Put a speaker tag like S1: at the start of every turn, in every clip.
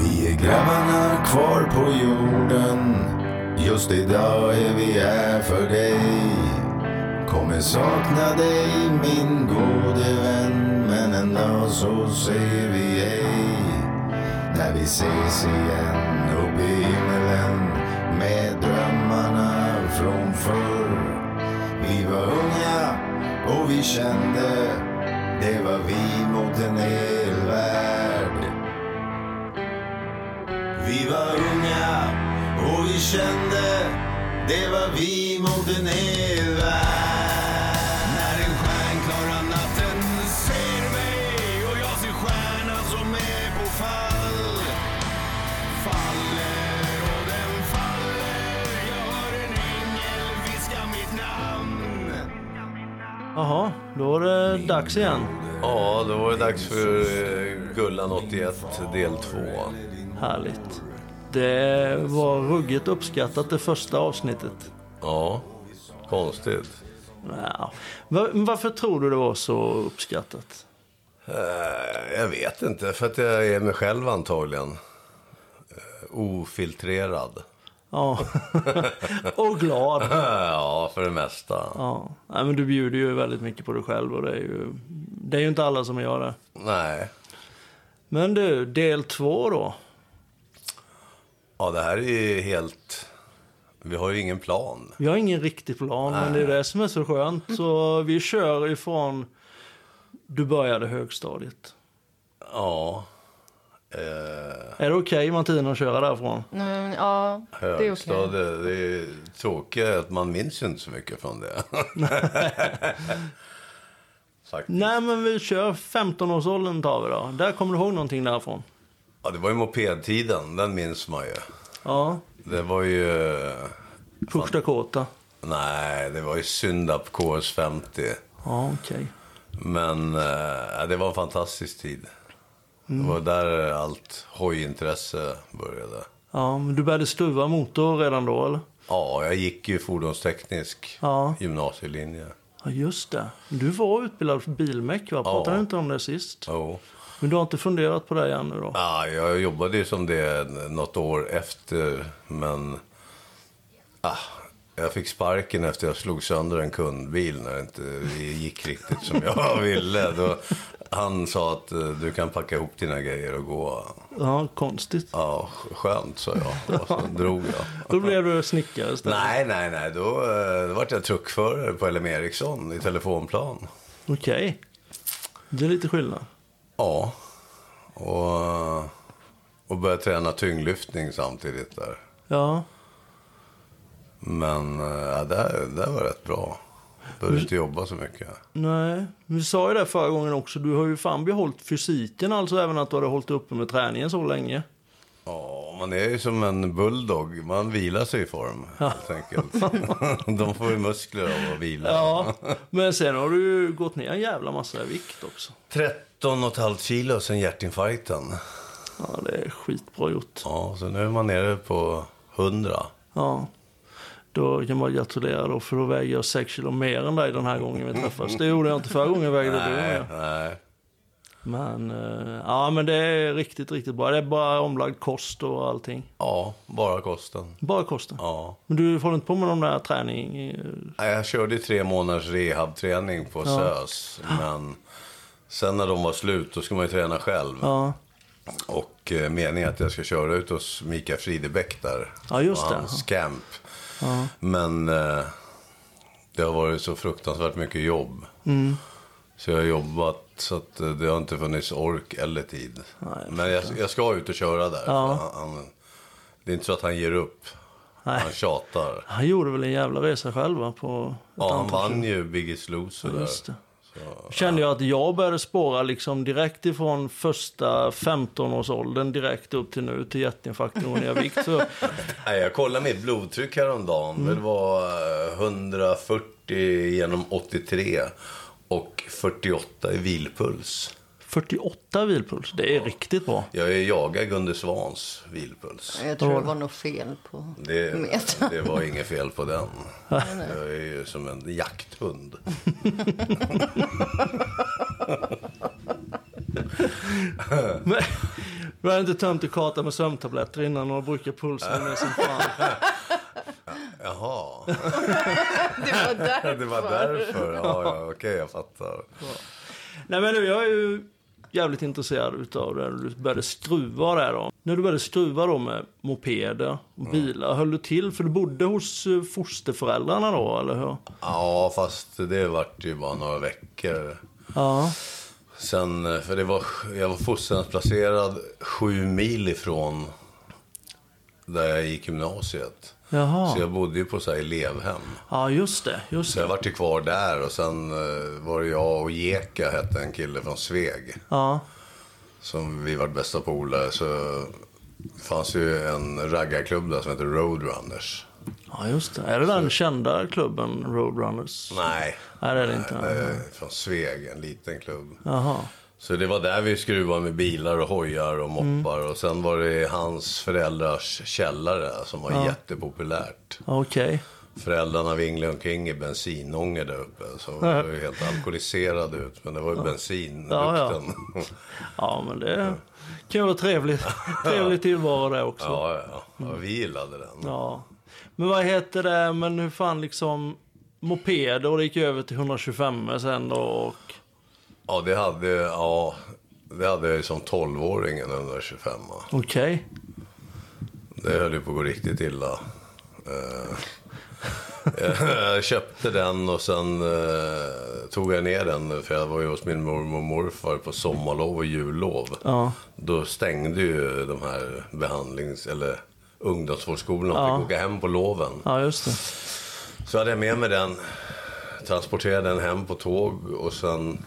S1: Det är grabbarna kvar på jorden Just idag är vi här för dig Kommer sakna dig min gode vän Men en dag så säger vi hej När vi ses igen uppe i himmelen Med drömmarna från förr Vi var unga och vi kände Det var vi mot en hel värld vi var unga och vi kände det var vi mot en hel värld. När den stjärnklara natten ser mig och jag ser stjärnan som är på fall. Faller och den faller. Jag hör en ängel viska mitt namn.
S2: Jaha, då är det dags igen.
S3: Ja, då var det dags för eh, Gullan 81 del 2.
S2: Härligt. Det var ruggigt uppskattat det första avsnittet.
S3: Ja, konstigt.
S2: Nja, va- men Varför tror du det var så uppskattat?
S3: Eh, Jag vet inte, för att jag är mig själv antagligen. Eh, Ofiltrerad. Eh,
S2: Ja, och glad.
S3: Ja, för det mesta.
S2: Ja, Nej, men du bjuder ju väldigt mycket på dig själv och det är ju, det är ju inte alla som gör det.
S3: Nej.
S2: Men du, del två då.
S3: Ja, det här är ju helt... Vi har ju ingen plan.
S2: Vi har ingen riktig plan, men det är det som är så skönt. Så vi kör ifrån du började högstadiet.
S3: Ja. Eh,
S2: Är det okej Martina att köra därifrån?
S4: Mm, ja, det är okej.
S3: högstadiet. Det är tråkigt att man minns ju inte så mycket från det. Faktiskt.
S2: Nej, men vi kör 15-årsåldern tar vi då. Där kommer du ihåg någonting därifrån?
S3: Ja, det var ju mopedtiden. Den minns man ju.
S2: Ja,
S3: Det var ju...
S2: första kåta.
S3: Nej, det var ju Syndap KS50.
S2: Ja, okej.
S3: Men eh, det var en fantastisk tid. Det var där allt hojintresse började.
S2: Ja, men du började stuva motor redan då, eller?
S3: Ja, jag gick ju fordonsteknisk
S2: Ja.
S3: gymnasielinje.
S2: Ja, just det. Du var utbildad för bilmek, va? Pratade
S3: Ja.
S2: du inte om det sist?
S3: Jo.
S2: Men du har inte funderat på det än nu då?
S3: Ja, jag jobbade ju som det något år efter, men... Ah, jag fick sparken efter jag slog sönder en kundbil när det inte gick riktigt som jag ville. Då, han sa att eh, du kan packa ihop dina grejer och gå.
S2: Ja, konstigt.
S3: Ja, skönt, sa jag. Och så drog jag.
S2: Då blev du snickare istället?
S3: Nej, nej, nej. Då, eh, då vart jag truckförare på LM Ericsson i telefonplan.
S2: Okej. Det är lite skillnad.
S3: Ja. Och, och började träna tyngdlyftning samtidigt där.
S2: Ja.
S3: Men eh, ja, det, här, det här var rätt bra.
S2: Mm.
S3: Behövde inte jobba så mycket.
S2: Nej, vi sa ju det förra gången också. Du har ju fan behållit fysiken alltså, även att du hade hållit uppe med träningen så länge.
S3: Ja, man är ju som en bulldog. Man vilar sig i form, helt enkelt. De får ju muskler av att vila.
S2: Ja, men sen har du ju gått ner en jävla massa i vikt också.
S3: 13,5 kilo sen hjärtinfarkten.
S2: Ja, det är skitbra gjort.
S3: Ja, så nu är man nere på 100.
S2: Ja. Då kan man gratulera då, för då väger jag 6 kilo mer än dig den här gången vi träffas. Det gjorde jag inte förra gången vägde du
S3: Nej,
S2: mer.
S3: nej.
S2: Men, eh, ja men det är riktigt, riktigt bra. Det är bara omlagd kost och allting.
S3: Ja, bara kosten.
S2: Bara kosten.
S3: Ja.
S2: Men du håller inte på med de där träning... eh,
S3: Nej, Jag körde ju tre månaders rehabträning på SÖS. Men sen när de var slut, då ska man ju träna själv.
S2: Ja.
S3: Och eh, meningen är att jag ska köra ut hos Mikael Fridebäck där.
S2: Ja, just
S3: och
S2: det.
S3: hans camp. Men eh, det har varit så fruktansvärt mycket jobb.
S2: Mm.
S3: Så jag har jobbat så att eh, det har inte funnits ork eller tid. Men jag, jag ska ut och köra där.
S2: Ja.
S3: Han, han, det är inte så att han ger upp.
S2: Nej.
S3: Han tjatar.
S2: Han gjorde väl en jävla resa själv va? På ett
S3: Ja, han
S2: antal
S3: vann ju Biggest Loser där.
S2: Just det. Kände jag att jag började spåra liksom direkt ifrån första 15-årsåldern direkt upp till nu till hjärtinfarkten och ner i vikt. Så,
S3: Nej, jag kollade mitt blodtryck häromdagen. Det var eh, 140 genom 83 och 48 i vilpuls.
S2: 48 vilpuls, det är riktigt bra.
S3: Jag jagar Gunde Svans vilpuls.
S4: Jag tror det var något fel på
S3: Det,
S4: metern.
S3: det var inget fel på den. Jag är ju som en jakthund.
S2: Men, Vi har inte tömt i kartan med sömntabletter innan och brukar pulsen med som fan.
S3: Jaha,
S4: Det var där.
S3: det var därför. Ja, ja, okej, jag fattar.
S2: Nej men nu, jag är ju jävligt intresserad utav det när du började skruva där då. När du började skruva då med mopeder och bilar, höll du till? För du bodde hos eh, fosterföräldrarna då, eller hur?
S3: Ja, fast det vart ju bara några veckor.
S2: Ja.
S3: Sen, eh, för det var, jag var fosterhemsplacerad sju mil ifrån där jag gick gymnasiet. Så
S2: Jaha.
S3: jag bodde ju på så här elevhem.
S2: Ja, just det. Just
S3: Så jag
S2: det.
S3: vart ju kvar där och sen eh, var det jag och Jeka hette en kille från Sveg.
S2: Ja.
S3: Som vi var bästa polare. Så fanns ju en raggarklubb där som hette Roadrunners.
S2: ja, just det. Är det den kända klubben Roadrunners?
S3: Nej,
S2: Nej, det är det inte.
S3: eh, från Sveg, en liten klubb.
S2: Jaha.
S3: Så det var där vi skruvade med bilar och hojar och moppar. Och sen var det hans föräldrars källare som var jättepopulärt.
S2: Okej.
S3: Föräldrarna vinglade omkring i bensinånger där uppe. Så de var ju helt alkoholiserade ut. Men det var ju
S2: Ja, ja.
S3: bensindukten. Ja,
S2: Ja, men det kan ju vara trevligt. Trevlig tillvaro det också.
S3: ja, ja. ja. Vi gillade den.
S2: Ja. Men vad heter det, men hur fan liksom mopeder och det gick över till 125 sen då och...
S3: Ja, det hade, ja, det hade jag ju som 12-åring, en 125.
S2: Okej.
S3: Det höll ju på att gå riktigt illa. Eh, jag köpte den och sen eh, tog jag ner den. För jag var ju hos min mormor och morfar på sommarlov och jullov.
S2: Ja.
S3: Då stängde ju de här behandlings eller ungdomsvårdsskolorna och fick åka hem på loven.
S2: Ja, just det.
S3: Så hade jag med mig den, transporterade den hem på tåg och sen...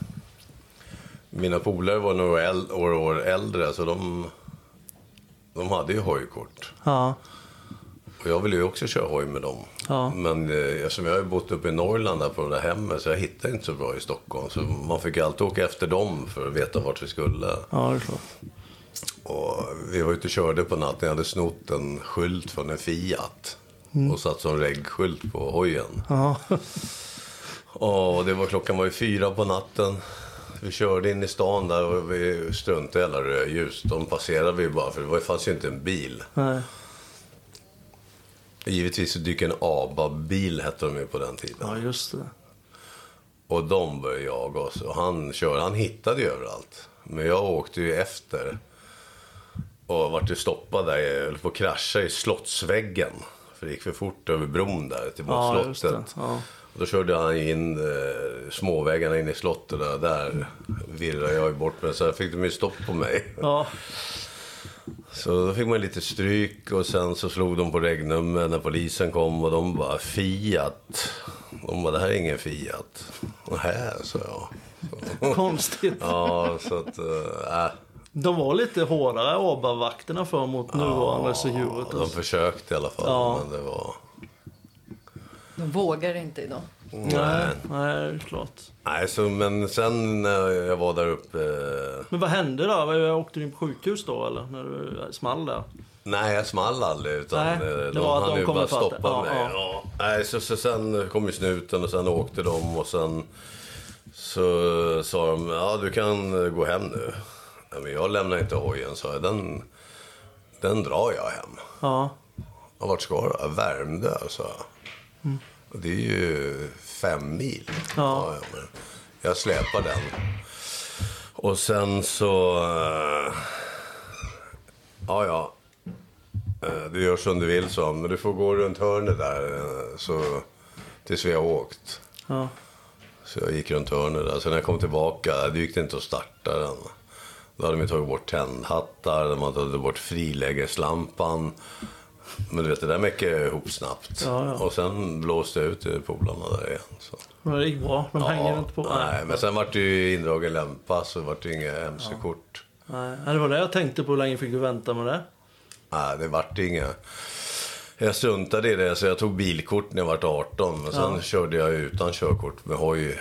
S3: Mina polare var några äl- år, år äldre så de, de hade ju hojkort.
S2: Ja.
S3: Och jag ville ju också köra hoj med dem.
S2: Ja.
S3: Men eh, eftersom jag har ju bott uppe i Norrland där på det där hemmet så jag hittade inte så bra i Stockholm. Så man fick ju alltid åka efter dem för att veta vart vi skulle.
S2: Ja, det är klart.
S3: Och vi var ute och körde på natten. Jag hade snott en skylt från en Fiat. Och satt som reggskylt på hojen.
S2: Ja.
S3: Och det var, klockan var ju fyra på natten. Vi körde in i stan där och vi struntade i alla rödljus. De passerade vi bara för det var- det fanns ju inte en bil.
S2: Nej.
S3: Givetvis så dyker en ABA-bil hette de ju på den tiden.
S2: Ja, just det.
S3: Och de började jaga oss. Och han körde, han hittade ju överallt. Men jag åkte ju efter. Och vart ju stoppad där, jag höll på att krascha i slottsväggen. För det gick för fort över bron där till mot
S2: Ja, just det.
S3: slottet.
S2: Ja.
S3: Och Då körde han ju in eh, småvägarna in i slottet där. Där virrade jag ju bort mig. Så här fick de ju stopp på mig.
S2: Ja.
S3: Så då fick man lite stryk och sen så slog de på regnumren när polisen kom och de bara Fiat. De bara, det här är ingen Fiat. Och här, så jag.
S2: Konstigt.
S3: Ja, så att... Äh,
S2: De var lite hårdare, ABA-vakterna, för mot nuvarande Securit.
S3: de
S2: Alltså.
S3: försökte i alla fall,
S2: Ja.
S3: men det var...
S4: De vågar inte idag.
S2: Nej, nej, det är klart.
S3: Nej, så, men sen när jag var där uppe... eh,
S2: Men vad hände då? Vad- Åkte du in på sjukhus då, eller? När du eh, small där?
S3: Nej, jag small aldrig. Utan
S2: Nej,
S3: eh,
S2: det
S3: de
S2: var att
S3: hann
S2: de
S3: ju
S2: kom
S3: bara
S2: ifatt.
S3: stoppa
S2: Ja,
S3: mig.
S2: ja.
S3: Ja. Nej, så, så sen kom ju snuten och sen åkte de och sen så sa de ja du kan eh, gå hem nu. Ja, men jag lämnar inte hojen, sa jag. Den, den drar jag hem.
S2: Ja.
S3: Ja, vart ska du? Ja, Värmdö, sa jag. Och det är ju fem mil.
S2: Ja.
S3: men jag släpar den. Och sen så... eh, Ja, ja. Eh, Du gör som du vill, sa han, Men du får gå runt hörnet där eh, så, tills vi har åkt.
S2: Ja.
S3: Så jag gick runt hörnet där. Sen när jag kom tillbaka, det gick det inte att starta den. Då hade man tagit bort tändhattar, de hade tagit bort frilägeslampan. Men du vet, det där mäckade ihop snabbt.
S2: Ja, ja.
S3: Och sen blåste jag ut eh, polarna där igen. Så.
S2: Men det gick bra. De hänger inte på.
S3: nej, men sen vart det ju indragen lämpa, så vart det inga mc-kort.
S2: Nej, det var det jag tänkte på. Hur länge fick du vänta med det?
S3: Nej, det vart inga. Jag struntade i det, så jag tog bilkort när jag vart 18. Men sen körde jag utan körkort med hoj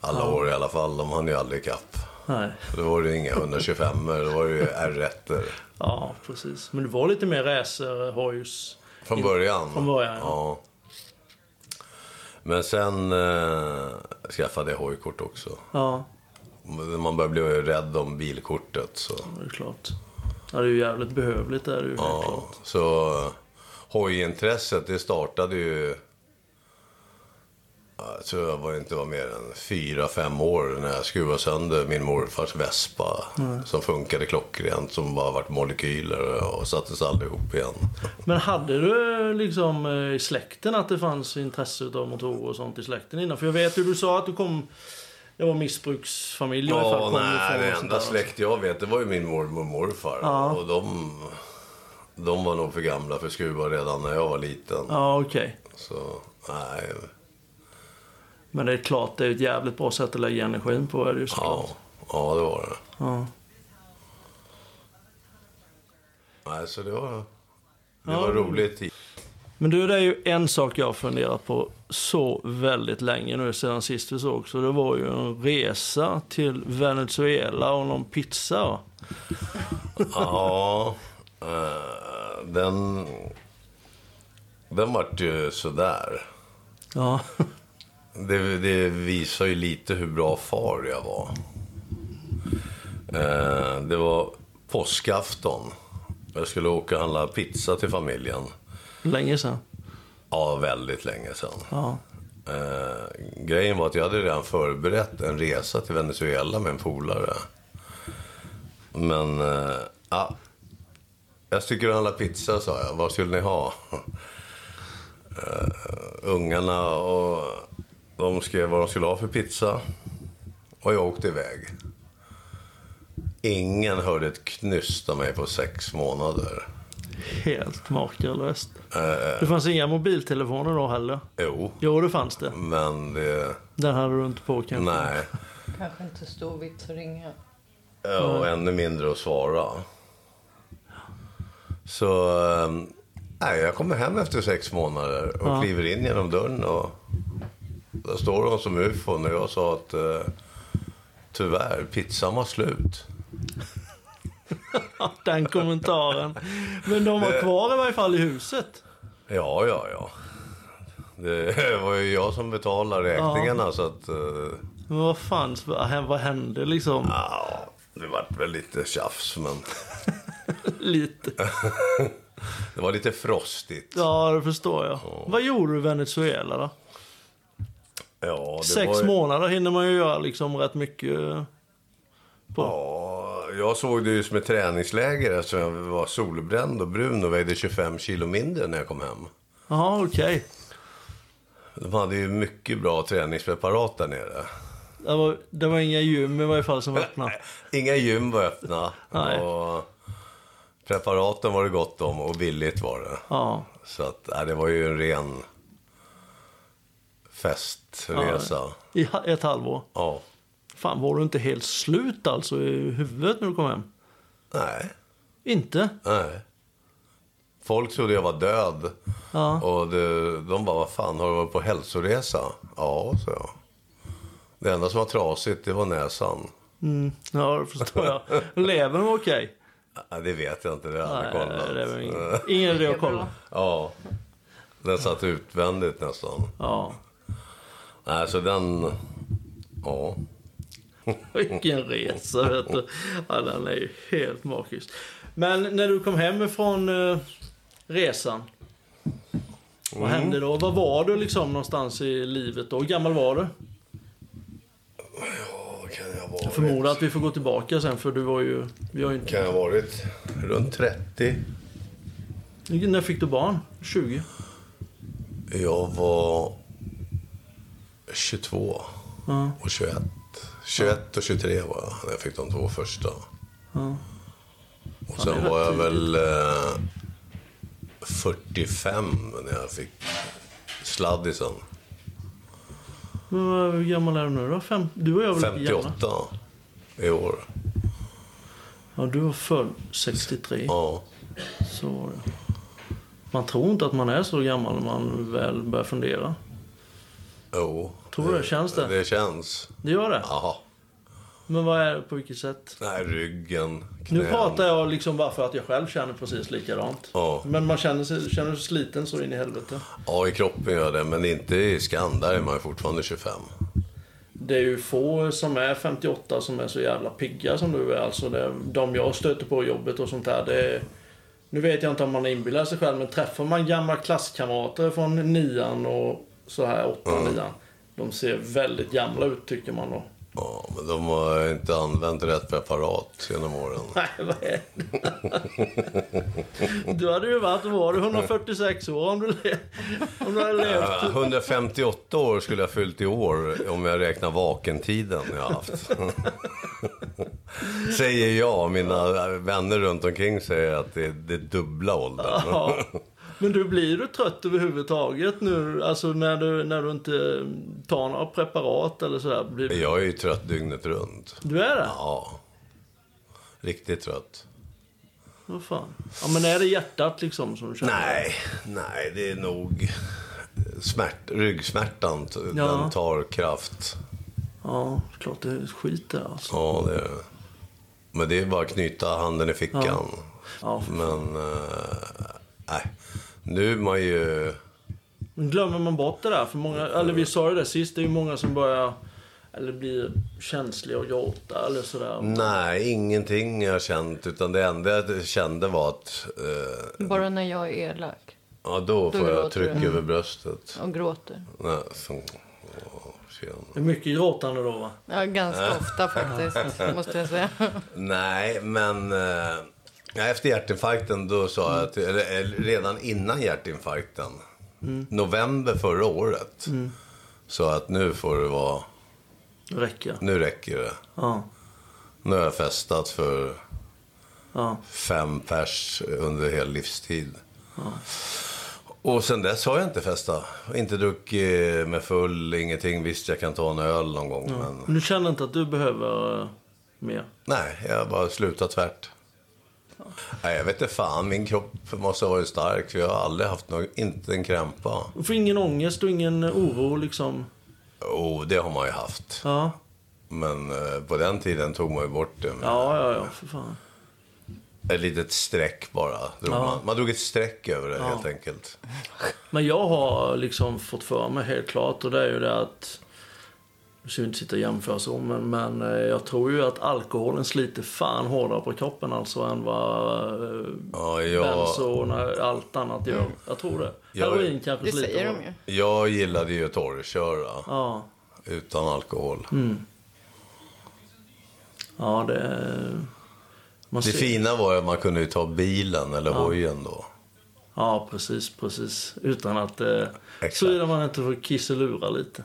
S3: alla år i alla fall. De hann ju aldrig ikapp.
S2: Nej.
S3: Då var det inga 125 då var det ju R1
S2: Ja, precis. Men du var lite mer racer, hojs.
S3: Från början.
S2: Från början, ja.
S3: ja. Men sen eh, skaffade jag hojkort också.
S2: Ja,
S3: Man börjar bli rädd om bilkortet. Så.
S2: det är klart. Ja, det är ju jävligt behövligt det är det ju. helt
S3: Ja,
S2: klart.
S3: så eh, hojintresset det startade ju... ja, Jag tror jag var inte var mer än fyra, fem år när jag skruvade sönder min morfars Vespa. Som funkade klockrent, som bara vart molekyler och sattes aldrig ihop igen.
S2: Men hade du liksom eh, i släkten att det fanns intresse av motorer och sånt i släkten innan? För jag vet ju du sa att du kom... Det var missbruksfamilj i alla fall,
S3: Ja,
S2: kom du
S3: nej,
S2: från
S3: det
S2: och sånt
S3: enda
S2: där.
S3: släkt jag vet det var ju min mormor och morfar.
S2: Ja.
S3: Och de, de var nog för gamla för skruvar redan när jag var liten.
S2: Ja, okej.
S3: Så, nej.
S2: Men det är klart, det är ett jävligt bra sätt att lägga energin på. Är det ju
S3: Ja,
S2: såklart.
S3: ja, det var det.
S2: Ja.
S3: Nej, så det var, det var roligt.
S2: Men du, det är ju en sak jag har funderat på så väldigt länge nu sedan sist vi såg. Så det var ju en resa till Venezuela och någon pizza. va?
S3: Ja, eh, den... Den vart ju sådär.
S2: Ja,
S3: Det, det visar ju lite hur bra far jag var. Eh, det var påskafton. Jag skulle åka och handla pizza till familjen.
S2: länge sedan.
S3: Ja, väldigt länge sedan.
S2: Ja.
S3: Eh, grejen var att jag hade redan förberett en resa till Venezuela med en polare. Men, eh, ja. Jag tycker att handla pizza, sa jag. Vad skulle ni ha? Eh, ungarna och de skrev vad de skulle ha för pizza. Och jag åkte iväg. Ingen hörde ett knyst av mig på sex månader.
S2: Helt makalöst.
S3: Eh,
S2: Det fanns inga mobiltelefoner då heller.
S3: Jo,
S2: Jo, det fanns det.
S3: men det...
S2: Den hade du inte på kanske.
S3: Nej.
S4: Kanske inte stor vits att ringa.
S3: Ja, Eh, och ännu mindre att svara. Så eh, nej, jag kommer hem efter sex månader och
S2: Ja.
S3: kliver in genom dörren och där står de som ufon och jag sa att eh, tyvärr, pizzan var slut.
S2: Den kommentaren. Men de
S3: Eh.
S2: var kvar i varje fall i huset.
S3: Ja, ja, ja. Det var ju jag som betalade räkningarna så att eh,
S2: Men vad fan, vad hände liksom?
S3: ja, det vart väl lite tjafs men
S2: Lite.
S3: det var lite frostigt.
S2: Ja, det förstår jag. Vad gjorde du i Venezuela då?
S3: Ja, det
S2: Sex
S3: var ju-
S2: månader hinner man ju göra liksom rätt mycket.
S3: Ja, jag såg det ju som ett träningsläger eftersom jag var solbränd och brun och vägde 25 kilo mindre när jag kom hem.
S2: Jaha, okej.
S3: De hade ju mycket bra träningspreparat där nere.
S2: Det, var, det var inga gym i varje fall som öppnade.
S3: Inga gym var öppna.
S2: Nej.
S3: Och preparaten var det gott om och billigt var det.
S2: Ja.
S3: Så att, nej, det var ju en ren festresa.
S2: I ha- ett halvår.
S3: Ja.
S2: Fan, var du inte helt slut alltså i huvudet när du kom hem?
S3: Nej,
S2: Inte?
S3: nej. Folk trodde jag var död.
S2: Ja.
S3: Och det, de bara, vad fan, har du varit på hälsoresa? Ja, så jag. Det enda som var trasigt, det var näsan.
S2: Mm, ja, det förstår jag. Levern var okej.
S3: Ja, Äh, det vet jag inte, det har jag aldrig kollat.
S2: Nej, det var ingen, ingen idé att kolla.
S3: Ja. Den satt utvändigt nästan.
S2: Ja.
S3: Nej, så den... Ja.
S2: Vilken resa, vet du. Ja, den är ju helt magisk. Men när du kom hem ifrån eh, resan, vad hände då? Var var du liksom någonstans i livet då? Hur gammal var du?
S3: Vad kan jag ha varit?
S2: Förmodar att vi får gå tillbaka sen, för du var ju... Vi har ju inte...
S3: Kan jag ha varit runt 30?
S2: När fick du barn? 20?
S3: Jag var 22
S2: Ja.
S3: och 21. 21 och 23 var jag när jag fick de två första.
S2: Ja.
S3: Och sen
S2: det är
S3: var jag
S2: rätt
S3: väl eh, 45 när jag fick sladdisen.
S2: Men vad- hur gammal är du nu då? Fem... Du och jag är väl lika gamla?
S3: 58 i år.
S2: Ja, du var född 63.
S3: Ja.
S2: Så var det. Man tror inte att man är så gammal när man väl börjar fundera.
S3: Jo.
S2: Tror du det? Känns det?
S3: Det känns.
S2: Det gör det.
S3: Jaha.
S2: Men vad är det, på vilket sätt?
S3: Nej, ryggen, knän.
S2: Nu pratar jag liksom bara för att jag själv känner precis likadant.
S3: Ja.
S2: Men man känner sig, känner sig sliten så in i helvete.
S3: Ja, i kroppen gör jag det, men inte i skam. Där är man ju fortfarande 25.
S2: det är ju få som är 58 som är så jävla pigga som du är. Alltså det, de jag stöter på i jobbet och sånt där. Det, är- nu vet jag inte om man inbillar sig själv, men träffar man gamla klasskamrater från nian och så här, åttan, nian. De ser väldigt gamla ut tycker man då.
S3: Ja, men de har inte använt rätt preparat genom åren.
S2: Nej, vad är det? Du hade ju varit, vad var du 146 år om du, le- om du hade levt.
S3: Ja, 158 år skulle jag ha fyllt i år om jag räknar vakentiden jag har haft. säger jag. Mina vänner runt omkring säger att det är, det är dubbla åldern.
S2: Ja. Men du blir du trött överhuvudtaget nu, alltså när du, när du inte tar några preparat eller sådär? Blir,
S3: Jag är ju trött dygnet runt.
S2: du är det?
S3: Ja. Riktigt trött.
S2: Vad fan. Ja, men är det hjärtat liksom som du känner?
S3: Nej, nej, det är nog smärt, ryggsmärtan. t-
S2: Ja.
S3: Den tar kraft.
S2: Ja, klart det är skit det alltså.
S3: Ja, det är det. Men det är bara att knyta handen i fickan.
S2: Ja.
S3: Men, eh, nej. Nu är man ju...
S2: Men glömmer man bort det där? För många, eller vi sa ju det sist, det är ju många som börjar, eller blir känsliga och gråta eller
S3: Mm.
S2: sådär.
S3: Nej, ingenting jag har känt. Utan det enda jag kände var att... Eh,
S4: Bara när jag är elak
S3: ja, då får
S4: gråter
S3: jag tryck
S4: du.
S3: över bröstet.
S4: och gråter.
S3: Nej, så, åh, tjena.
S2: Det är mycket gråtande då va?
S4: Ja, ganska ofta faktiskt, måste jag säga.
S3: Nej, men... Eh, ja, efter hjärtinfarkten då sa jag att, eller, eller, redan innan hjärtinfarkten, november förra året, sa att nu får det vara,
S2: Det räcker.
S3: nu räcker det.
S2: Ja.
S3: Nu har jag festat för
S2: Ja.
S3: fem pers under hel livstid. Och sen dess har jag inte festat. Inte druckit med full, ingenting. Visst, jag kan ta en öl någon gång, men
S2: Men du känner inte att du behöver eh, mer?
S3: Nej, jag har bara slutat tvärt. Nej, jag vet inte fan, min kropp måste ha varit stark för jag har aldrig haft någon, inte en krämpa.
S2: Du får ingen ångest och ingen oro liksom?
S3: Oh, det har man ju haft.
S2: Ja.
S3: Men eh, på den tiden tog man ju bort det. Med
S2: Ja, ja, ja, för fan.
S3: Ett litet streck bara. Drog
S2: Ja.
S3: man. man drog ett streck över det helt enkelt.
S2: Men jag har liksom fått för mig helt klart och det är ju det att nu ska vi inte sitta och jämföra så, men, men eh, jag tror ju att alkoholen sliter fan hårdare på kroppen alltså än vad eh,
S3: Ja, Mm.
S2: benzo
S3: jag,
S2: och när- allt annat gör. Jag tror det.
S3: Jag-
S2: Heroin kanske
S4: Det
S2: sliter
S4: säger de
S2: hårdare.
S4: ju.
S3: jag gillade ju att torrköra
S2: Ja.
S3: utan alkohol.
S2: Mm, Ja, det... är- Man
S3: Det
S2: ser-
S3: fina var ju att man kunde ju ta bilen eller hojen då.
S2: Ja, precis, precis. Utan att... Eh,
S3: Exakt.
S2: Såvida man inte får kisselura lite.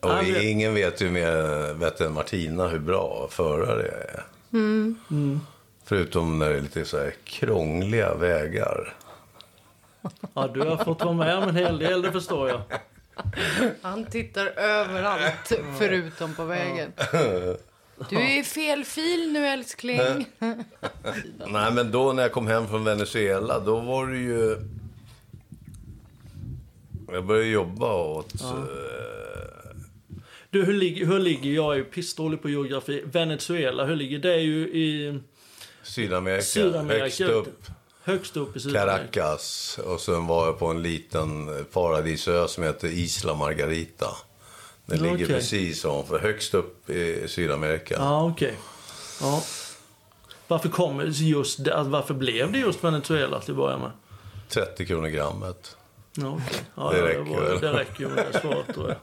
S3: Och
S2: Ja, men-
S3: ingen vet ju mer vet än Martina hur bra förare jag är.
S2: Mm.
S3: Förutom när det är lite så här krångliga vägar.
S2: Ja, du har fått vara med om en hel del, det förstår jag.
S4: Han tittar överallt, förutom på vägen. Du är i fel fil nu, älskling.
S3: Nej, men då när jag kom hem från Venezuela, då var det ju... Jag började jobba åt... eh,
S2: Du, hur ligger, hur ligger jag? är ju pissdålig på geografi. Venezuela, hur ligger det? är ju i
S3: Sydamerika,
S2: Sydamerika.
S3: högst upp.
S2: Högst upp i Sydamerika.
S3: Caracas. Och sen var jag på en liten paradisö som heter Isla Margarita. Den
S2: Ja,
S3: ligger
S2: okej.
S3: precis ovanför, högst upp i Sydamerika.
S2: Ja, okej. Ja. Varför kommer just det? Alltså, varför blev det just Venezuela till att börja med?
S3: 30 kronor grammet.
S2: Ja, okej. ja,
S3: Det
S2: ja,
S3: räcker
S2: var-
S3: väl.
S2: Det räcker ju med det svaret tror jag.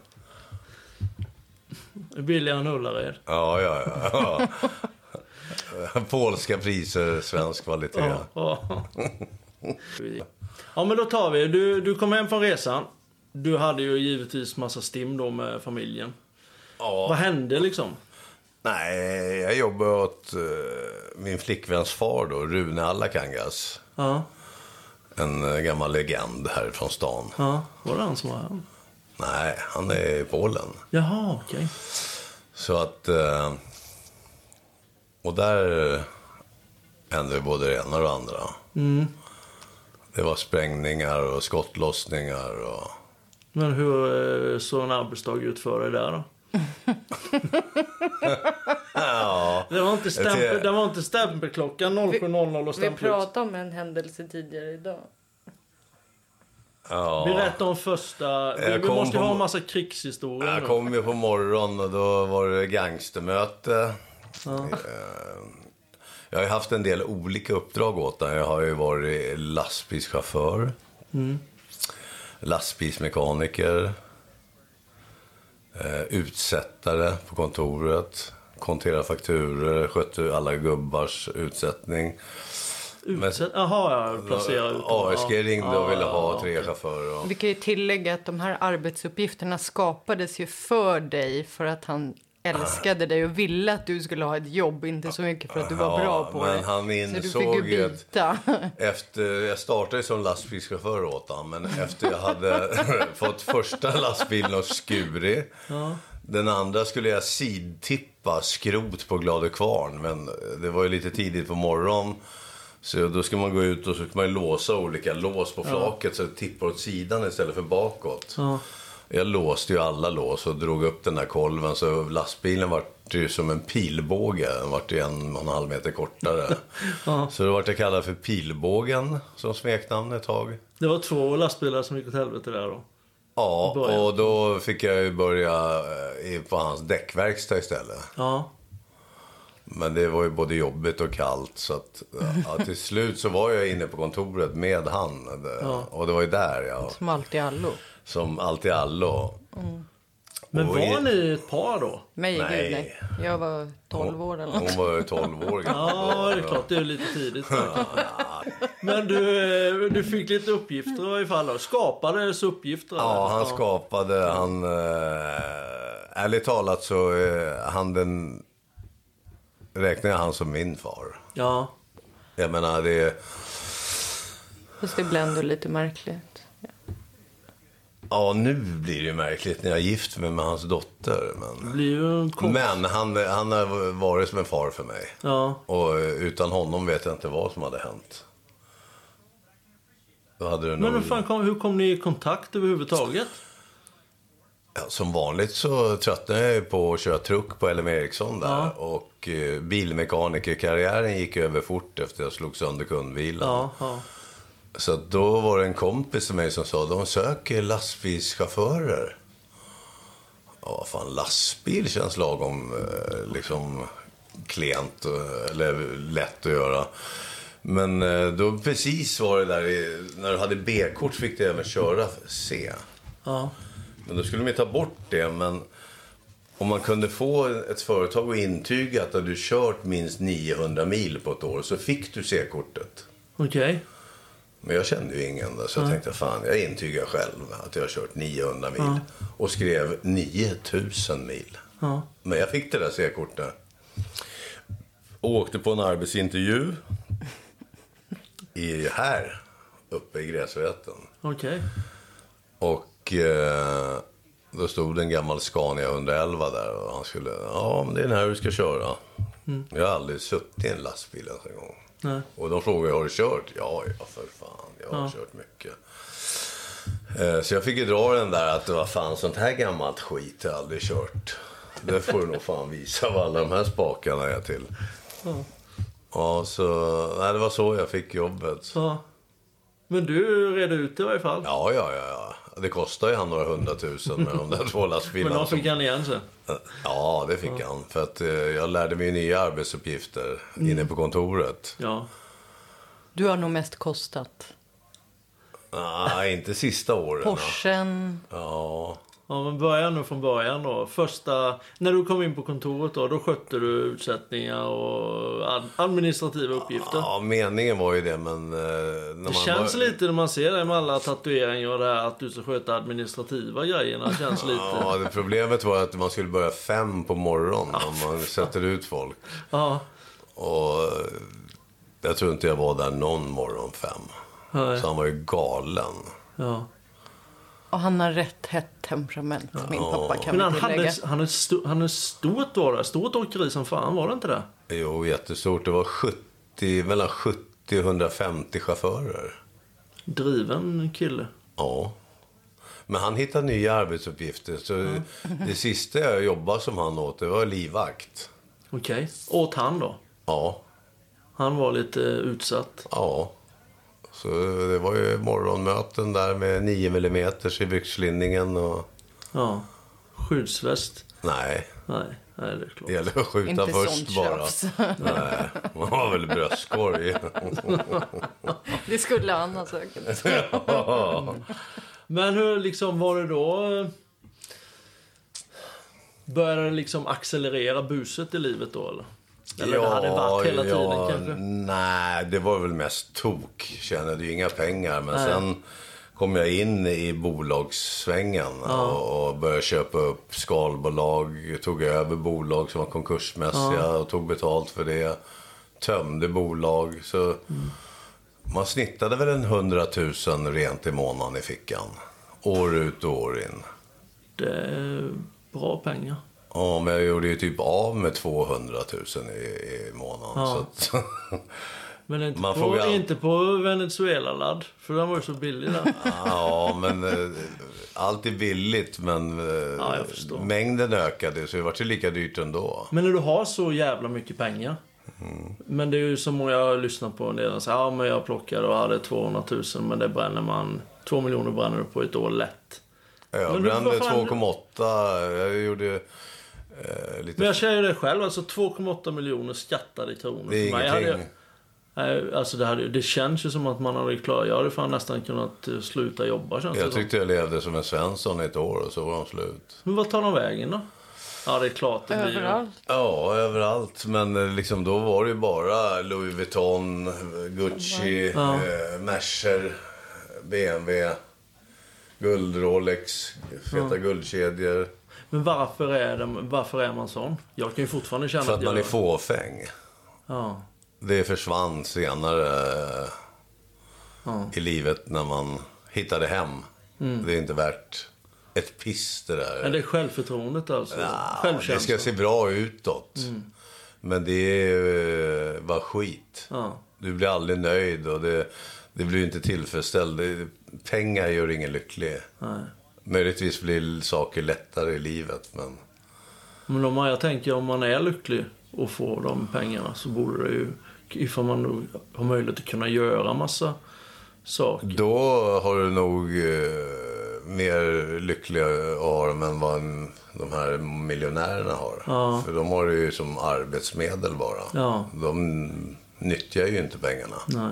S2: Billigare än Ullared.
S3: Ja, ja, ja. ja. Polska priser, svensk kvalitet.
S2: Ja. Ja. ja, men då tar vi. Du, du kom hem från resan. Du hade ju givetvis massa stim då med familjen. Vad
S3: Ja.
S2: hände liksom?
S3: Nej, jag jobbar åt eh, min flickväns far då, Rune Allakangas.
S2: Ja,
S3: En eh, gammal legend här från stan.
S2: ja. Var det han som var här?
S3: Nej, han är i Polen.
S2: Jaha, okej.
S3: Så att... eh, Och där hände ju både det ena och det andra. Det var sprängningar och skottlossningar och...
S2: Men hur eh, såg en arbetsdag ut för dig där då?
S3: Ja.
S2: Det var inte,
S3: Jag
S2: stämpel,
S3: ser-
S2: det var inte stämpelklockan 07.00 och
S4: Vi
S2: stämpel ut.
S4: pratade om en händelse tidigare idag.
S2: Berätta om första... Vi,
S3: Jag
S2: vi
S3: kom
S2: måste ju
S3: på-
S2: ha en massa krigshistorier
S3: Jag
S2: nu.
S3: kom ju på morgonen och då var det gangstermöte. Eh, Jag har ju haft en del olika uppdrag åt den. Jag har ju varit lastbilschaufför. Lastbilsmekaniker. Eh, utsättare på kontoret. Konterade fakturer, skötte alla gubbars utsättning. Eh,
S2: Utsätt... Jaha, ja. Placera ut dem.
S3: ASG
S2: Ja.
S3: ringde
S2: Ja,
S3: och ville
S2: ja,
S3: ha
S2: ja.
S3: tre chaufförer. Och...
S4: Vi kan ju tillägga att de här arbetsuppgifterna skapades ju för dig för att han älskade dig och ville att du skulle ha ett jobb, inte så mycket för att du var
S3: Ja,
S4: bra på
S3: men
S4: det.
S3: han
S4: så du
S3: insåg
S4: fick ju
S3: ju att-
S4: byta.
S3: Efter, jag startade ju som lastbilschaufför åt honom, men efter jag hade fått första lastbilen och skurit. Den andra skulle jag sidtippa skrot på Glade Kvarn, men det var ju lite tidigt på morgonen. Så då ska man gå ut och så ska man ju låsa olika lås på flaket så det tippar åt sidan istället för bakåt.
S2: Ja.
S3: Jag låste ju alla lås och drog upp den där kolven så lastbilen vart ju som en pilbåge. Den vart ju en och en halv meter kortare. Så då vart jag kallad för pilbågen som smeknamn ett tag.
S2: Det var två lastbilar som gick åt helvete där då.
S3: Ja,
S2: I början.
S3: och då fick jag ju börja eh, i- på hans däckverkstad istället.
S2: Ja.
S3: Men det var ju både jobbigt och kallt så att ja, till slut så var jag inne på kontoret med han. Och det var ju där jag,
S4: Som allt i allo.
S3: som allt i allo.
S2: Men
S3: Och
S2: var
S3: i-
S2: ni ett par då?
S4: Mig,
S3: Nej.
S4: gud nej. Jag var 12 år eller något.
S3: Hon var ju 12 år gammal.
S2: Ja, det är klart. Det är ju lite tidigt. Men du, eh, du fick lite uppgifter i varje fall. Då. Skapades uppgifter?
S3: Ja,
S2: eller?
S3: han skapade, han... Eh, ärligt talat så, eh, han den... Räknar jag han som min far.
S2: Ja.
S3: Jag menar, det...
S4: Fast det blev ändå lite märkligt.
S3: Ja, nu blir det ju märkligt när jag är gift mig med hans dotter.
S2: Det
S3: Men,
S2: blir ju en kom...
S3: men han, han har varit som en far för mig.
S2: Ja.
S3: Och eh, utan honom vet jag inte vad som hade hänt. Då hade det
S2: Men hur,
S3: nog...
S2: fan kom, hur kom ni i kontakt överhuvudtaget?
S3: Ja, som vanligt så tröttnade jag ju på att köra truck på LM Ericsson där. Och eh, bilmekanikerkarriären gick ju över fort efter jag slog sönder kundbilen.
S2: Ja, ja.
S3: Så att då var det en kompis till mig som sa, de söker lastbilschaufförer. Ja, fan lastbil känns lagom eh, liksom klent eh, eller lätt att göra. Men eh, då precis var det där, i- när du hade B-kort fick du även köra C.
S2: ja.
S3: Men då skulle de ju ta bort det. Men om man kunde få ett företag att intyga att du kört minst 900 mil på ett år så fick du C-kortet.
S2: Okej.
S3: Men jag kände ju ingen där, så jag tänkte fan, jag intygar själv att jag har kört 900 mil. Och skrev 9000 mil.
S2: Ja.
S3: Men jag fick det där C-kortet. Och åkte på en arbetsintervju. I, här, uppe i Gräsväten.
S2: Okej.
S3: Och eh, då stod det en gammal Scania 111 där och han skulle, ja men det är den här du ska köra. Jag har aldrig suttit i en lastbil ens en gång.
S2: Mm. Nej.
S3: Och de frågade, har du kört? Ja, ja för fan, jag har kört mycket. Eh, så jag fick ju dra den där att det var fan sånt här gammalt skit har jag aldrig kört. Det får du nog fan visa vad alla de här spakarna är till.
S2: Ja.
S3: Ja, så, nej, det var så jag fick jobbet.
S2: Ja. Men du redde ut det i varje fall.
S3: Ja, ja, ja. ja. Det kostar ju han några hundratusen med de där två
S2: Men
S3: lastbilarna.
S2: de fick han igen sen.
S3: Ja, det fick han. För att eh, jag lärde mig nya arbetsuppgifter
S2: Mm.
S3: inne på kontoret.
S2: Ja.
S4: Du har nog mest kostat.
S3: Nej, inte sista åren.
S4: Porschen.
S3: Ja.
S2: Ja, men börja nu från början då. Första, när du kom in på kontoret då, då skötte du utsättningar och ad, administrativa uppgifter.
S3: ja, meningen var ju det, men... eh, När man
S2: det känns
S3: bör-
S2: lite när man ser dig med alla tatueringar och det här att du ska sköta administrativa grejerna. Det känns lite...
S3: Ja, det problemet var att man skulle börja fem på morgonen om man sätter ut folk.
S2: Ja.
S3: Och eh, jag tror inte jag var där någon morgon fem.
S2: Nej.
S3: Så han var ju galen.
S2: ja.
S4: Och han har rätt hett temperament, min pappa kan
S2: Men han
S4: vi tillägga.
S2: hade, han hade, sto, han hade stort var det. Stort åkeri som fan, var det inte det?
S3: Jo, jättestort. Det var 70, mellan 70 och 150 chaufförer.
S2: Driven kille.
S3: Ja. Men han hittar nya arbetsuppgifter. Så Det sista jag jobbade som han åt, det var livvakt.
S2: Okej. Åt han då?
S3: Ja.
S2: Han var lite utsatt.
S3: Ja. Så det var ju morgonmöten där med 9 mm i byxlinningen och...
S2: Ja. Skyddsväst?
S3: Nej,
S2: Nej, nej det är klart.
S3: det gäller att skjuta
S4: Inte
S3: först
S4: sånt
S3: bara.
S4: tjafs.
S3: Nej, man har väl bröstkorg.
S4: Det skulle han ha säkert.
S2: Men hur liksom var det då? eh, Började det liksom accelerera buset i livet då eller? Eller det hade varit hela tiden kanske?
S3: Nej, det var väl mest tok. Tjänade ju inga pengar. Men sen kom jag in i bolagssvängen och, och började köpa upp skalbolag. Tog över bolag som var konkursmässiga och tog betalt för det. Tömde bolag. Så
S2: Mm.
S3: man snittade väl en 100 000 rent i månaden i fickan. År ut och år in.
S2: Det är bra pengar.
S3: Ja, men jag gjorde ju typ av med 200 000 i, i månaden. Så att,
S2: Men inte,
S3: Man
S2: på,
S3: får ju-
S2: inte på Venezuela-ladd. För den var ju så billig där.
S3: ja, men eh, allt är billigt, men eh,
S2: Ja, jag förstår.
S3: mängden ökade så det var ju lika dyrt ändå.
S2: Men när du har så jävla mycket pengar.
S3: Mm.
S2: Men det är ju som många jag har lyssnat på en del. och säger, Ja, men jag plockade och hade 200 000 men det bränner man. 2 miljoner bränner du på ett år lätt.
S3: Jag
S2: Men du,
S3: brände
S2: vad fan-
S3: 2,8. Jag gjorde eh, lite...
S2: Men jag säger det själv, alltså 2,8 miljoner skattade kronor.
S3: Det är
S2: För mig hade
S3: ingenting.
S2: jag, nej, alltså det, hade, det känns ju som att man hade klarat... Jag hade fan nästan kunnat eh, sluta jobba känns det
S3: Jag
S2: som.
S3: tyckte jag levde som en Svensson i ett år och så var de slut.
S2: Men vad tar de vägen då? Ja, det är klart det blir ju...
S4: Överallt.
S3: Ja, överallt. Men eh, liksom, då var det ju bara Louis Vuitton, Gucci, eh, Mercer, BMW, guld Rolex, feta guldkedjor.
S2: Men varför är, de, varför är man sån? Jag kan ju fortfarande känna
S3: För att man
S2: jag...
S3: är fåfäng.
S2: Ja.
S3: Det försvann senare eh, i livet när man hittade hem. Det är inte värt ett piss det där.
S2: Mm. Men det är självförtroendet alltså?
S3: Ja, det
S2: Självkänslan?
S3: ska se bra utåt.
S2: Mm.
S3: Men det eh, var skit.
S2: Ja.
S3: Du blir aldrig nöjd och det, det blir inte tillfredsställd. Det, pengar gör ingen lycklig.
S2: Nej.
S3: Möjligtvis blir saker lättare i livet. Men
S2: Men om man, jag tänker om man är lycklig och får de pengarna så borde det ju, ifall man nog har möjlighet att kunna göra massa saker.
S3: då har du nog eh, mer lyckliga arm än vad en, de här miljonärerna har.
S2: Ja.
S3: För de har det ju som arbetsmedel bara.
S2: Ja.
S3: De nyttjar ju inte pengarna.
S2: Nej.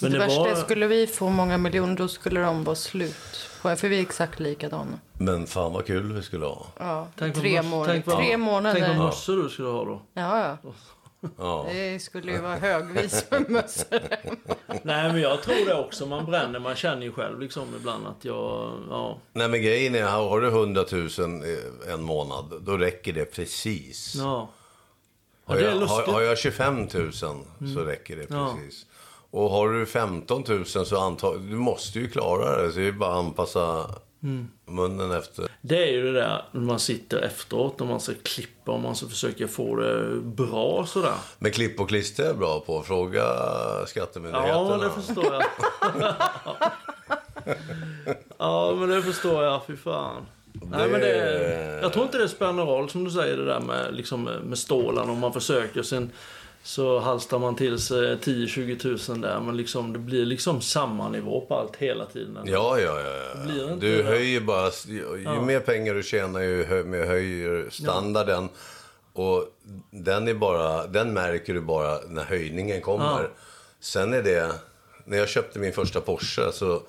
S2: Men
S4: det
S2: det,
S4: värsta är,
S2: var...
S4: skulle vi få många miljoner då skulle de vara slut. på en, För vi är exakt likadana.
S3: Men fan vad kul vi skulle ha.
S4: Ja,
S2: Tänk vad
S4: tre,
S2: mors-
S4: månader.
S2: tänk vad-
S4: tre
S2: Tänk vad
S4: månader.
S2: mössor du skulle ha då.
S4: Ja,
S3: Ja.
S4: ja. Det skulle ju vara högvis med mössor.
S2: Nej men jag tror det också. Man bränner, man känner ju själv liksom ibland att jag... Ja.
S3: Nej men grejen är, har du 100 000 i en månad, då räcker det precis.
S2: ja. ja
S3: har,
S2: det
S3: jag,
S2: är
S3: har, har
S2: lustigt. Mm.
S3: jag 25 000 så räcker det
S2: Ja.
S3: precis. Och har du 15 000 så antagligen, du måste ju klara det. Så det är bara att anpassa
S2: Mm.
S3: munnen efter.
S2: Det är ju det där när man sitter efteråt och man ska klippa och man ska försöka få det bra sådär.
S3: Men klipp och klister är jag bra på. Fråga skattemyndigheterna.
S2: Ja, det förstår jag. ja, men det förstår jag. Fy fan. Nej, men det, jag tror inte det spelar någon roll som du säger det där med, liksom, med stålan om man försöker. Sen så halstar man till sig 10-20 000 där men liksom, det blir liksom samma nivå på allt hela tiden.
S3: Ja, ja, ja. ja.
S2: Blir det inte
S3: du
S2: det?
S3: höjer bara... Ju mer pengar du tjänar, ju hö- mer höjer standarden. Och den, är bara, den märker du bara när höjningen kommer.
S2: Ja.
S3: Sen är det... När jag köpte min första Porsche så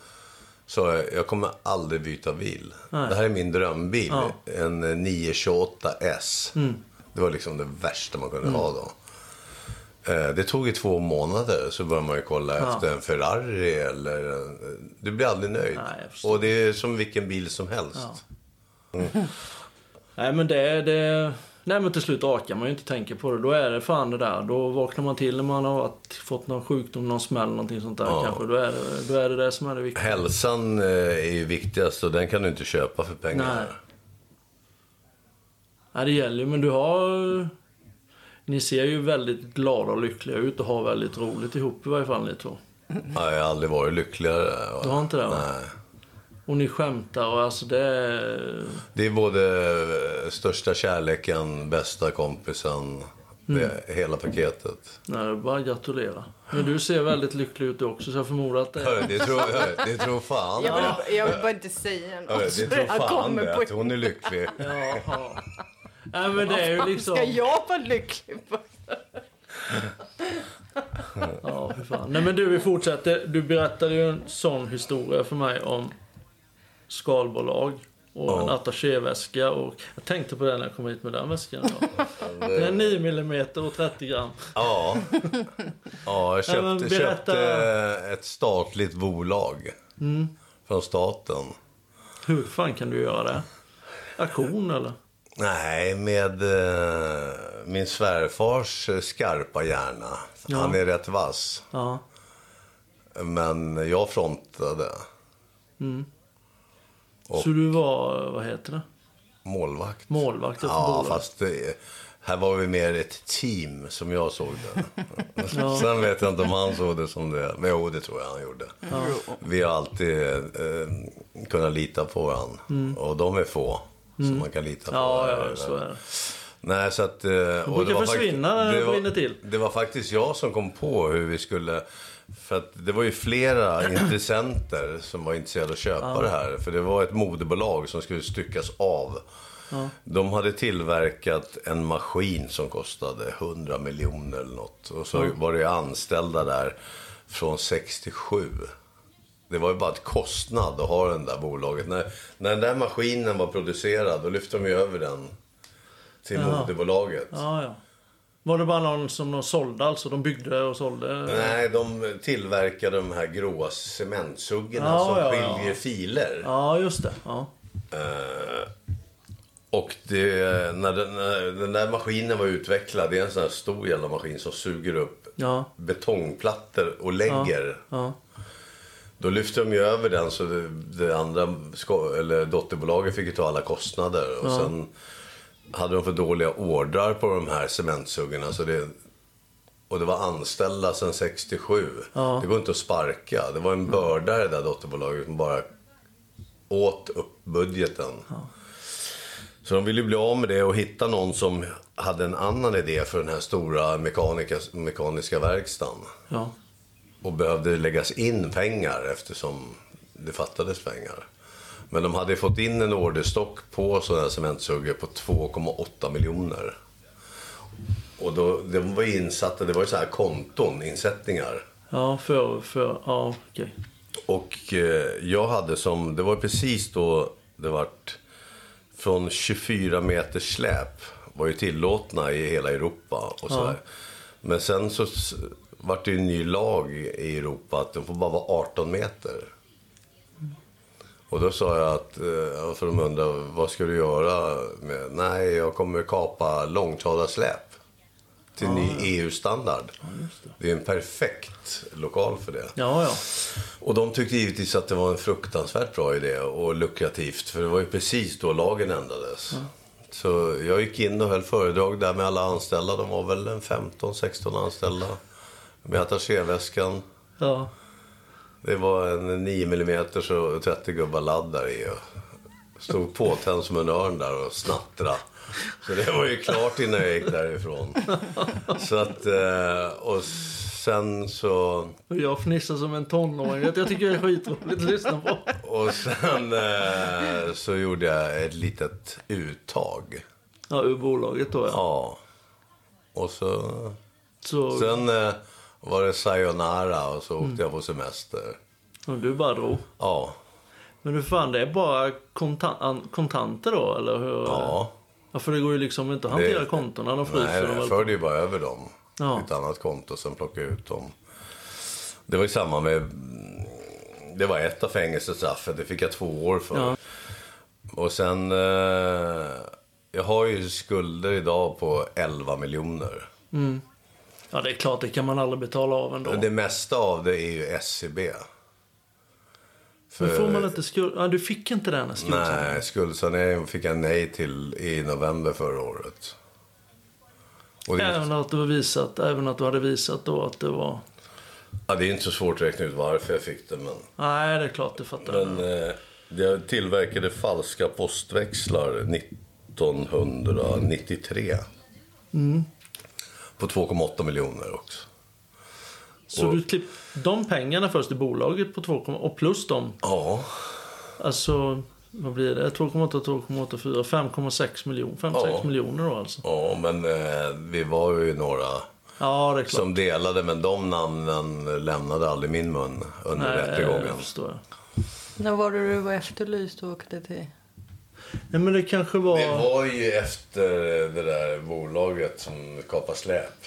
S3: sa jag jag kommer aldrig byta bil. Det här är min drömbil. En eh, 928 S.
S2: Mm.
S3: Det var liksom det värsta man kunde ha då. Eh, Det tog ju två månader så började man ju kolla efter en Ferrari eller en... Du blir aldrig nöjd.
S2: Nej, jag förstår.
S3: och det är som vilken bil som helst.
S2: Nej men det, det... Nej men till slut orkar man ju inte tänka på det. Då är det fan det där. Då vaknar man till när man har varit, fått någon sjukdom, någon smäll, någonting sånt där kanske. Då är, det, då är det det som är det viktiga.
S3: Hälsan eh, är ju viktigast och den kan du inte köpa för pengar.
S2: Nej. Nej, det gäller ju. Men du har... Ni ser ju väldigt glada och lyckliga ut och har väldigt roligt ihop i varje fall ni två.
S3: Ja, Jag har aldrig varit lyckligare.
S2: Du har inte det va?
S3: Nej.
S2: Och ni skämtar och alltså det... är-
S3: Det är både eh, största kärleken, bästa kompisen
S2: Mm.
S3: Det, hela paketet.
S2: Nej, det är bara att gratulera. Men du ser väldigt lycklig ut också, så jag förmodar att det är...
S3: Hörru, Det tror, hörru, det tror fan
S4: Jag
S3: det.
S4: vill, jag vill bara inte säga något.
S3: Hörru, Det tror
S4: Han
S3: fan
S4: kommer
S3: det,
S4: på-
S3: att hon är lycklig.
S2: Jaha. Nej, men det är ju liksom...
S4: Ska jag vara lycklig? för?
S2: Ja, för fan. Nej, men du, vi fortsätter. Du berättade ju en sån historia för mig om skalbolag och en attachéväska. Och jag tänkte på det när jag kom hit med den väskan. idag. Det är 9 mm och 30 gram.
S3: Ja. ja, jag
S2: men
S3: köpte,
S2: berätta.
S3: köpte ett statligt bolag
S2: Mm.
S3: från staten.
S2: Hur fan kan du göra det? Auktion eller?
S3: Nej, med eh, min svärfars eh, skarpa hjärna.
S2: Ja.
S3: Han är rätt vass,
S2: Ja.
S3: men jag frontade
S2: Så du var, vad heter det?
S3: målvakt.
S2: Målvakt för
S3: Ja,
S2: bolaget.
S3: fast det, här var vi mer ett team som jag såg det. Sen vet jag inte om han såg det som det. Men jo, det tror jag han gjorde. Vi har alltid eh, kunnat lita på varandra. Och de är få som man kan lita på.
S2: Mm. Ja, ja, så är det.
S3: Nej, så att... eh, och
S2: brukar
S3: fakt-
S2: försvinna när det brinner till.
S3: Det var faktiskt jag som kom på hur vi skulle... För att det var ju flera intressenter som var intresserade av att köpa det här. För det var ett modebolag som skulle styckas av. De hade tillverkat en maskin som kostade 100 miljoner eller något. Och så var det ju anställda där från 67. Det var ju bara ett kostnad att ha den där bolaget. När, när den där maskinen var producerad, då lyfte de ju över den till moderbolaget.
S2: Ja, ja. Var det bara någon som de sålde alltså? De byggde och sålde?
S3: Nej, de tillverkade de här gråa cementsuggarna
S2: Ja,
S3: som
S2: ja, ja.
S3: skiljer filer. Eh,
S2: Ja, just det. Ja.
S3: Och det, när, den, när den där maskinen var utvecklad, det är en sån här stor jävla maskin som suger upp
S2: Ja.
S3: betongplattor och lägger.
S2: Ja.
S3: Då lyfte de ju över den så det, det andra sko- eller dotterbolaget fick ju ta alla kostnader. Och sen hade de för dåliga ordrar på de här cementsuggarna. Så det, och det var anställda sedan 67. Det går inte att sparka. Det var en börda i det där dotterbolaget som bara åt upp budgeten. Så de ville ju bli av med det och hitta någon som hade en annan idé för den här stora mekanika, mekaniska verkstaden.
S2: ja.
S3: Och behövde läggas in pengar eftersom det fattades pengar. Men de hade fått in en orderstock på sådana här cementsuggor på 2,8 miljoner. Och då, de var insatta, det var ju så här konton, insättningar.
S2: Ja, för... för ja, okej.
S3: Och eh, jag hade som, det var precis då det vart från 24 meters släp var ju tillåtna i hela Europa och sådär. Men sen så s- vart det ju en ny lag i Europa att de får bara vara 18 meter. Och då sa jag att, eh, för de undrade, vad ska du göra? Med? Nej, jag kommer kapa långtradarsläp till ny EU-standard. Det är en perfekt lokal för det.
S2: Ja, ja.
S3: Och de tyckte givetvis att det var en fruktansvärt bra idé och lukrativt. För det var ju precis då lagen ändrades. Så jag gick in och höll föredrag där med alla anställda. De var väl en 15-16 anställda. Med attachéväskan.
S2: ja.
S3: Det var en 9 mm och 30 gubbar ladd där i. och Stod påtänd som en örn där och snattra. Så det var ju klart innan jag gick därifrån. Så att, eh, och sen så...
S2: Och jag fnissar som en tonåring. Jag tycker det är skitroligt att lyssna på.
S3: Och sen eh, så gjorde jag ett litet uttag.
S2: Ja, ur bolaget då ja.
S3: Ja. Och så...
S2: Så
S3: Sen eh, var det sayonara och så åkte jag på semester.
S2: och du bara drog.
S3: Ja.
S2: Men hur fan, det är bara kontan- an- kontanter då eller hur?
S3: Ja.
S2: ja. För det går ju liksom inte att hantera kontona. De
S3: Nej,
S2: fryser dem
S3: jag
S2: väl.
S3: förde ju bara över dem
S2: Ja.
S3: till ett annat konto sen plockade jag ut dem. Det var ju samma med... Det var ett av fängelsestraffen. Det fick jag två år för.
S2: Ja.
S3: Och sen... Eh, jag har ju skulder idag på 11 miljoner.
S2: Ja, det är klart. Det kan man aldrig betala av ändå.
S3: Men Det mesta av det är ju SCB.
S2: Men får man inte skuld... Ja, du fick inte den här skulden.
S3: Nej, skuldsanering fick jag nej till i november förra året. Och det,
S2: Även att, du har visat, även att du hade visat då att det var...
S3: ja, det är inte så svårt att räkna ut varför jag fick det, men...
S2: Nej, det är klart. Det fattar jag.
S3: men eh, jag tillverkade falska postväxlar 1993. på 2,8 miljoner också.
S2: Så du klipp, de pengarna först i bolaget på 2,8 och plus de,
S3: Ja,
S2: alltså vad blir det? 2,8, 2,84, 5,6 miljoner. 5-6
S3: Ja.
S2: miljoner då alltså.
S3: ja men eh, vi var ju några
S2: Ja, det är klart.
S3: som delade, men de namnen lämnade aldrig min mun under
S2: eh, jag
S3: rättegången.
S2: förstår jag.
S4: När var det du var efterlyst och åkte till?
S2: Nej men det kanske var...
S3: Det var ju efter det där bolaget som kapade släp.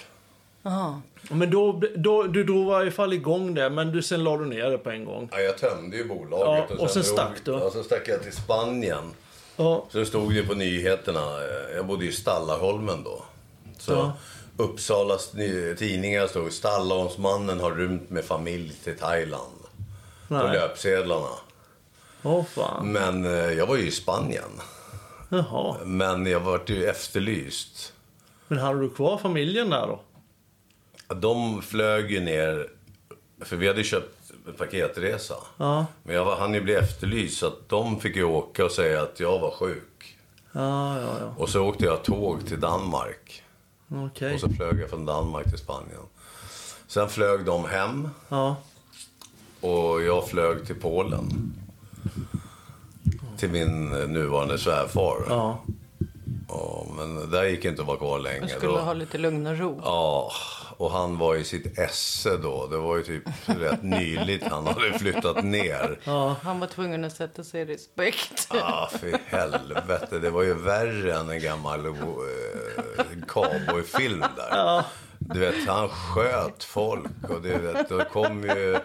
S4: Jaha.
S2: Men då, då, du drog i varje fall igång det, men du, sen la du ner det på en gång.
S3: Ja, jag tömde ju bolaget.
S2: Ja, och sen stack du.
S3: Ja, sen stack jag till Spanien.
S2: Ja,
S3: Så det stod ju på nyheterna. eh, Jag bodde i Stallarholmen då. Så
S2: Ja.
S3: Uppsalas ny- tidningar stod Stallarholmsmannen har rymt med familj till Thailand. På
S2: nej.
S3: löpsedlarna.
S2: Åh fan.
S3: Men eh, jag var ju i Spanien.
S2: Jaha.
S3: Men jag vart ju efterlyst.
S2: Men hade du kvar familjen där då?
S3: De flög ju ner, för vi hade ju köpt en paketresa.
S2: Ja.
S3: Men jag var, han ju bli efterlyst så att de fick ju åka och säga att jag var sjuk.
S2: Ja, ja, ja.
S3: Och så åkte jag tåg till Danmark.
S2: Okej.
S3: Och så flög jag från Danmark till Spanien. Sen flög de hem
S2: Ja.
S3: och jag flög till Polen. Till min eh, nuvarande svärfar.
S2: Ja.
S3: Ja, men där gick inte att vara kvar länge.
S4: Du skulle
S3: Då-
S4: ha lite lugn och ro.
S3: Ja, och han var i sitt esse då. Det var ju typ rätt nyligt han hade flyttat ner.
S4: Han var tvungen att sätta sig i respekt.
S3: Ah, för helvete. Det var ju värre än en gammal eh, cowboyfilm där. Du vet, han sköt folk och du vet, då kom ju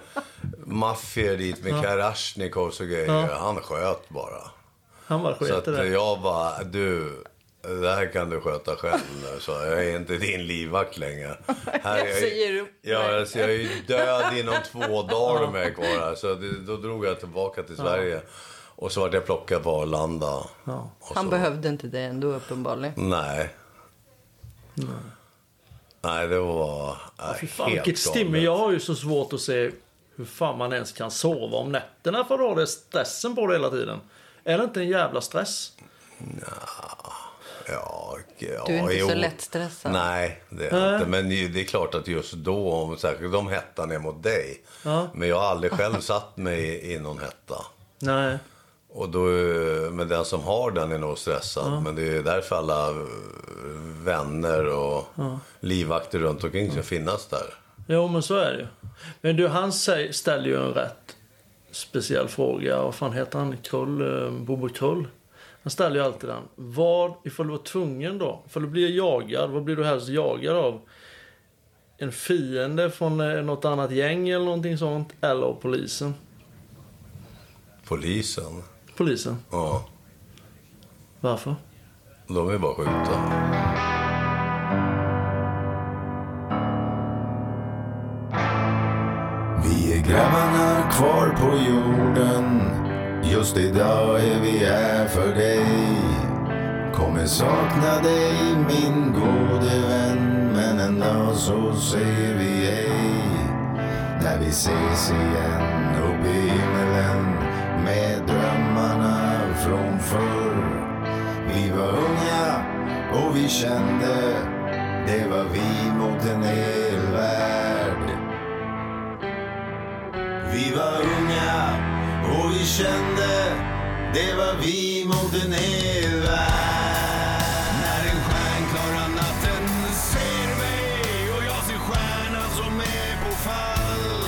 S3: maffior dit med Karasjnikovs och grejer. Han sköt bara.
S2: Han bara
S3: Så
S2: sket
S3: att
S2: i det.
S3: jag bara, du, det här kan du sköta själv nu. Så jag är inte din livvakt längre. Här är
S4: Jag säger upp
S3: Ja,
S4: mig.
S3: alltså, jag är ju död inom två dagar om jag är kvar här. Så det, då drog jag tillbaka till Sverige. Och så vart jag plockad på Arlanda. Och
S4: Han
S3: så-
S4: behövde inte dig ändå uppenbarligen.
S3: Nej. Nej, det var nej,
S2: Fy fan
S3: helt
S2: vilket stimmer.
S3: galet.
S2: Jag har ju så svårt att se hur fan man ens kan sova om nätterna för då har det stressen på det hela tiden. Är det inte en jävla stress?
S3: Ja, ja,
S4: Du är inte så
S3: jo.
S4: lättstressad.
S3: Nej, det är jag inte. Men ju- det är klart att just då, om särskilt om hettan är mot dig. Men jag har aldrig själv satt mig i- i någon hetta.
S2: Nej.
S3: Och då, eh, men den som har den är nog stressad. Men det är därför alla eh, vänner och livvakter runt omkring ska finnas där.
S2: Jo, men så är det ju. Men du, han säger, ställer ju en rätt speciell fråga. Vad fan heter han? Krull? eh, Bobo Krull? Han ställer ju alltid den. Vad, ifall du var tvungen då? Ifall du blir jagad, vad blir du helst jagad av? En fiende från eh, något annat gäng eller någonting sånt? Eller av polisen?
S3: Polisen,
S2: Polisen.
S3: ja,
S2: Varför?
S3: de är bara skjuta.
S1: Vi är grabbarna kvar på jorden Just idag är vi här för dig Kommer sakna dig min gode vän Men en dag så säger vi hej När vi ses igen uppe i himmelen Med drömmarna från förr Vi var unga och vi kände Det var vi mot en hel värld vi var unga och vi kände det var vi mot en hel värld. När den stjärnklara natten ser mig och jag ser stjärnan som är på fall.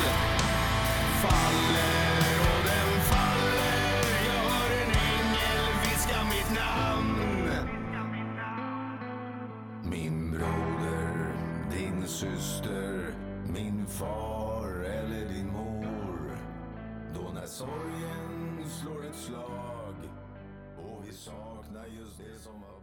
S1: Faller och den faller. Jag hör en ängel viska mitt namn. Min broder, din syster, min far eller din mor. Då när sorgen slår ett slag och vi saknar just det som var